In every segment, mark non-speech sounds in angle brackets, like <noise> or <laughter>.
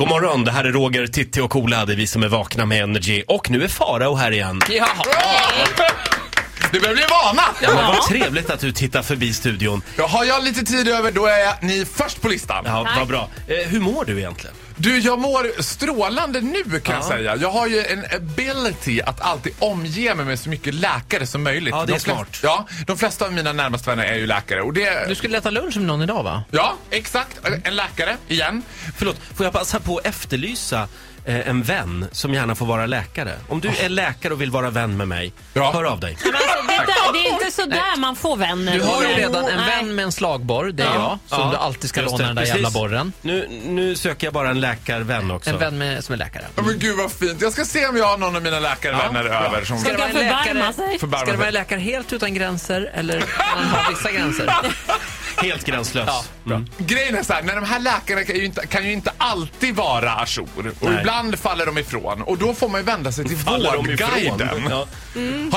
God morgon, det här är Roger, Titti och Ola, det är vi som är vakna med Energy. Och nu är Farao här igen. Jaha. Du börjar bli vana! Ja, men vad trevligt att du tittar förbi studion. Ja, har jag lite tid över då är jag, ni först på listan. Ja, vad bra. Eh, hur mår du egentligen? Du, jag mår strålande nu kan jag säga. Jag har ju en ability att alltid omge mig med så mycket läkare som möjligt. Ja, det är de flest- smart. Ja, de flesta av mina närmaste vänner är ju läkare och det... Du skulle äta lunch med någon idag va? Ja, exakt. En läkare igen. Förlåt, får jag passa på att efterlysa eh, en vän som gärna får vara läkare? Om du är läkare och vill vara vän med mig, Ja. hör av dig. Men alltså, det, där, det är inte så där man får vänner. Du har ju Nej. redan en Nej. vän med en slagborr, det är Ja. jag, som Ja. du alltid ska Just låna det, den där precis. jävla borren. Nu, nu söker jag bara en läkarvän också. En vän med, som är läkare. Ja, men gud vad fint. Jag ska se om jag har någon av mina läkarvänner över som vara Ska kan en förbarma läkare? sig. förbarmar Ska det vara sig. en läkare helt utan gränser eller kan han <laughs> ha vissa gränser? Helt gränslös. Ja, Mm. Grejen är så här, när de här läkarna kan ju inte, kan ju inte alltid vara ajour. Och Nej. ibland faller de ifrån. Och då får man ju vända sig till Faller de ifrån? Vårdguiden. Ja.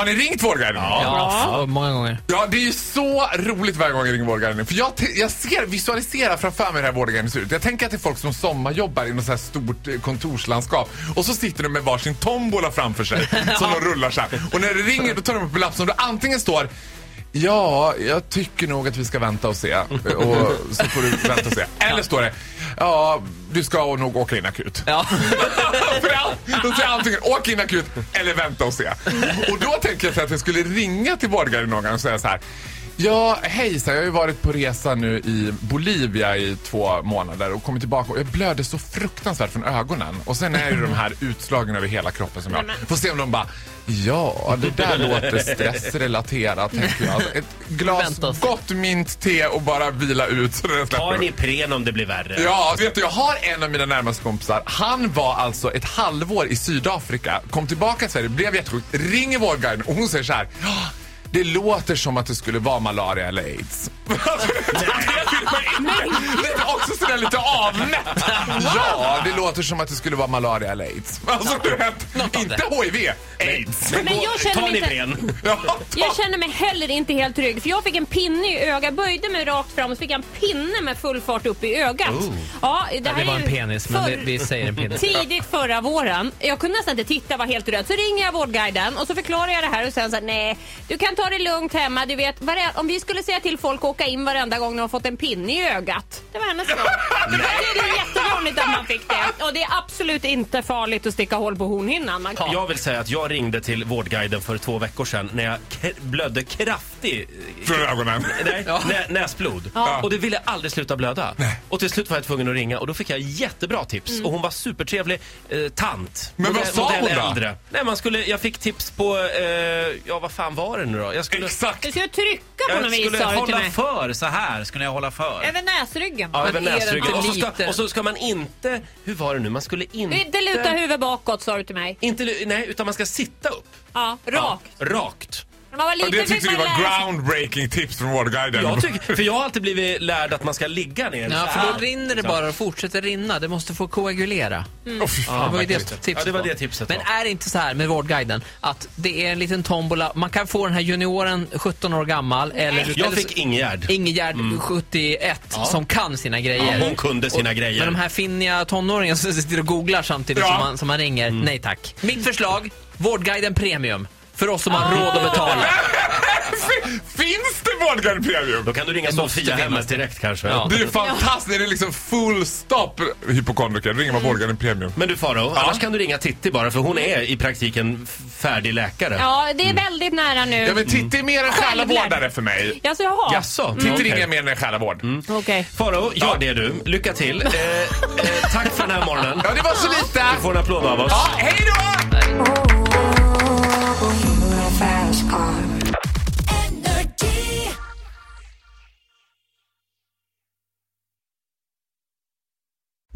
Har ni ringt Vårdguiden? Ja, så många gånger. Ja, det är ju så roligt varje gång jag ringer Vårdgarden. För jag, te- jag ser, visualiserar framför mig hur det här Vårdgarden ser ut. Jag tänker att det är folk som sommarjobbar i något så här stort eh, kontorslandskap. Och så sitter de med varsin tombola framför sig som de rullar så här. Och när det ringer då tar de upp en lapp som då antingen står Ja, jag tycker nog att vi ska vänta och se. Och så får du vänta och se. Eller står det, ja, du ska nog åka in akut. Ja. <laughs> För allt- Då säger jag antingen åk in akut eller vänta och se. Och då tänker jag så här att jag skulle ringa till vårdgaren någon gång och säga så här. Ja, hejsan. Jag har ju varit på resa nu i Bolivia i två månader och kommit tillbaka och jag blöder så fruktansvärt från ögonen. Och sen är ju de här utslagen över hela kroppen som jag får se om de bara Ja, det där låter <laughs> stressrelaterat, tänker jag. Alltså, Ett glas Vänta och se. gott mintte och bara vila ut så den Ta släpper. en Ipren om det blir värre. Ja, vet du, jag har en av mina närmaste kompisar. Han var alltså ett halvår i Sydafrika, kom tillbaka till Sverige, blev jättesjuk, ringer vårdguiden och hon säger så här. "Ja, Det låter som att det skulle vara malaria eller aids. <laughs> lite, också sådär lite avmätt. Ja, det låter som att det skulle vara malaria eller aids. Alltså, du vet, av inte HIV, aids. Men jag Ta känner en mig inte... Ipren. Ja, Jag känner mig heller inte helt trygg för jag fick en pinne i ögat, böjde mig rakt fram och så fick jag en pinne med full fart upp i ögat. Ja, det, här Oh. Det var är en ju penis, men förr- vi, vi säger en <laughs> penis. Tidigt förra våren. Jag kunde nästan inte titta, var helt röd. Så ringer jag Vårdguiden och så förklarar jag det här och sen så här, nej, du kan ta det lugnt hemma. Du vet, vare- om vi skulle säga till folk att åka in varenda gång de har fått en pinne i ögat. Det var <laughs> hennes svar. Det är ju jättevanligt att man fick det. Och det är absolut inte farligt att sticka hål på hornhinnan. Man kan... Jag vill säga att jag ringde till Vårdguiden för två veckor sedan när jag k- blödde kraftig från ögonen. Nej, nä, näsblod. Och det ville aldrig sluta blöda. Och till slut var jag tvungen att ringa och då fick jag jättebra tips. Mm. Och hon var supertrevlig eh, tant. Men vad sa hon då? äldre. Nej, man skulle, jag fick tips på, eh, ja vad fan var det nu då? Jag skulle, Exakt. Du ska ju trycka på något jag vis skulle sa du till hålla mig. för så här skulle jag hålla för. Över näsryggen. Ja, Men över är det näsryggen. inte Och så, ska, lite- och så ska man inte, hur var det nu, man skulle inte... Inte luta huvudet bakåt sa du till mig. Inte, lu- nej, utan man ska sitta upp. Ja, Ja, rakt. rakt. När man var Och Det liten fick tyckte du man lära var sig. groundbreaking tips från vårdguiden. Jag tycker, för jag har alltid blivit lärd att man ska ligga ner Ah. Ja, så för här. då rinner det bara och fortsätter rinna. Det måste få koagulera. Åh, fy Mm. fan, det var ju vad det äckligt. tipset. Ja, det var då. det tipset Men då. är det inte så här med Vårdguiden att det är en liten tombola. Man kan få den här junioren 17 år gammal eller, Jag eller fick Ingegärd. Ingegärd 71 som kan sina grejer. Ja, hon kunde sina grejer. Men de här finniga tonåringarna som sitter och googlar samtidigt Ja. som, man, som man ringer. Nej tack. Mitt förslag, Vårdguiden Premium. För oss som har råd att betala. Finns det Vårdgarden Premium? Då kan du ringa måste Sofia-hemmet finnas. direkt kanske. Ja. Det är fantastiskt, det är liksom full stopp hypokondriker. Ringer man Vårdgarden Premium. Men du Faro, annars kan du ringa Titti bara för hon är i praktiken f- färdig läkare. Ja, det är väldigt nära nu. Ja men Titti är mer en själavårdare för mig. Jaså, jaha. Jaså? Mm. Titti okej. Mm. ringer mer än en själavård. Okej. Faro, gör det du. Lycka till. Eh, eh, tack för den här morgonen. Ja det var så lite! Du får en applåd av oss. Ja, hej då!